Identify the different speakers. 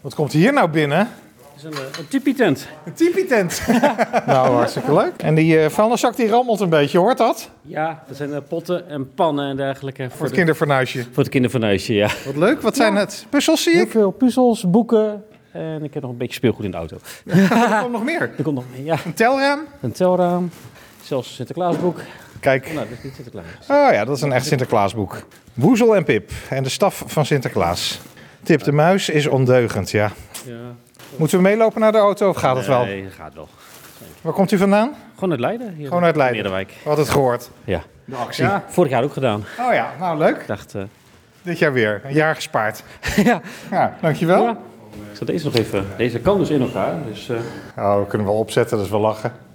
Speaker 1: Wat komt hier nou binnen?
Speaker 2: is een, eh, een tipi-tent.
Speaker 1: Een tipi-tent. nou, hartstikke leuk. En die eh, vuilniszak die rammelt een beetje, hoort dat?
Speaker 2: Ja, dat zijn eh, potten en pannen en dergelijke.
Speaker 1: Voor
Speaker 2: Voor,
Speaker 1: het
Speaker 2: de,
Speaker 1: kinderfornuisje.
Speaker 2: voor het kinderfornuisje, ja.
Speaker 1: Wat leuk, wat zijn het? Puzzels zie
Speaker 2: Heel
Speaker 1: ik.
Speaker 2: veel puzzels, boeken. En ik heb nog een beetje speelgoed in de auto.
Speaker 1: Er komt nog meer.
Speaker 2: Er komt nog ja,
Speaker 1: Een telraam.
Speaker 2: een telraam. Zelfs een Sinterklaasboek.
Speaker 1: Kijk.
Speaker 2: Nou, dat is niet Sinterklaas.
Speaker 1: Oh ja, dat is een echt Sinterklaasboek. Woezel en Pip en de staf van Sinterklaas. Tip de muis is ondeugend, ja.
Speaker 2: Ja.
Speaker 1: Moeten we meelopen naar de auto of gaat het wel?
Speaker 2: Nee, gaat wel.
Speaker 1: Waar komt u vandaan?
Speaker 2: Gewoon uit Leiden. Hier
Speaker 1: Gewoon uit
Speaker 2: in
Speaker 1: Leiden.
Speaker 2: Meerderwijk.
Speaker 1: Had het gehoord.
Speaker 2: Ja.
Speaker 1: De actie.
Speaker 2: Vorig jaar ook gedaan.
Speaker 1: Oh ja, nou leuk.
Speaker 2: Ik dacht, eh,
Speaker 1: Dit jaar weer. Een jaar gespaard.
Speaker 2: ja.
Speaker 1: Ja, dankjewel.
Speaker 2: ja. Ik zal deze nog even... Deze kan dus in elkaar. Dus eh,
Speaker 1: Oh, we kunnen wel opzetten, dat is wel lachen.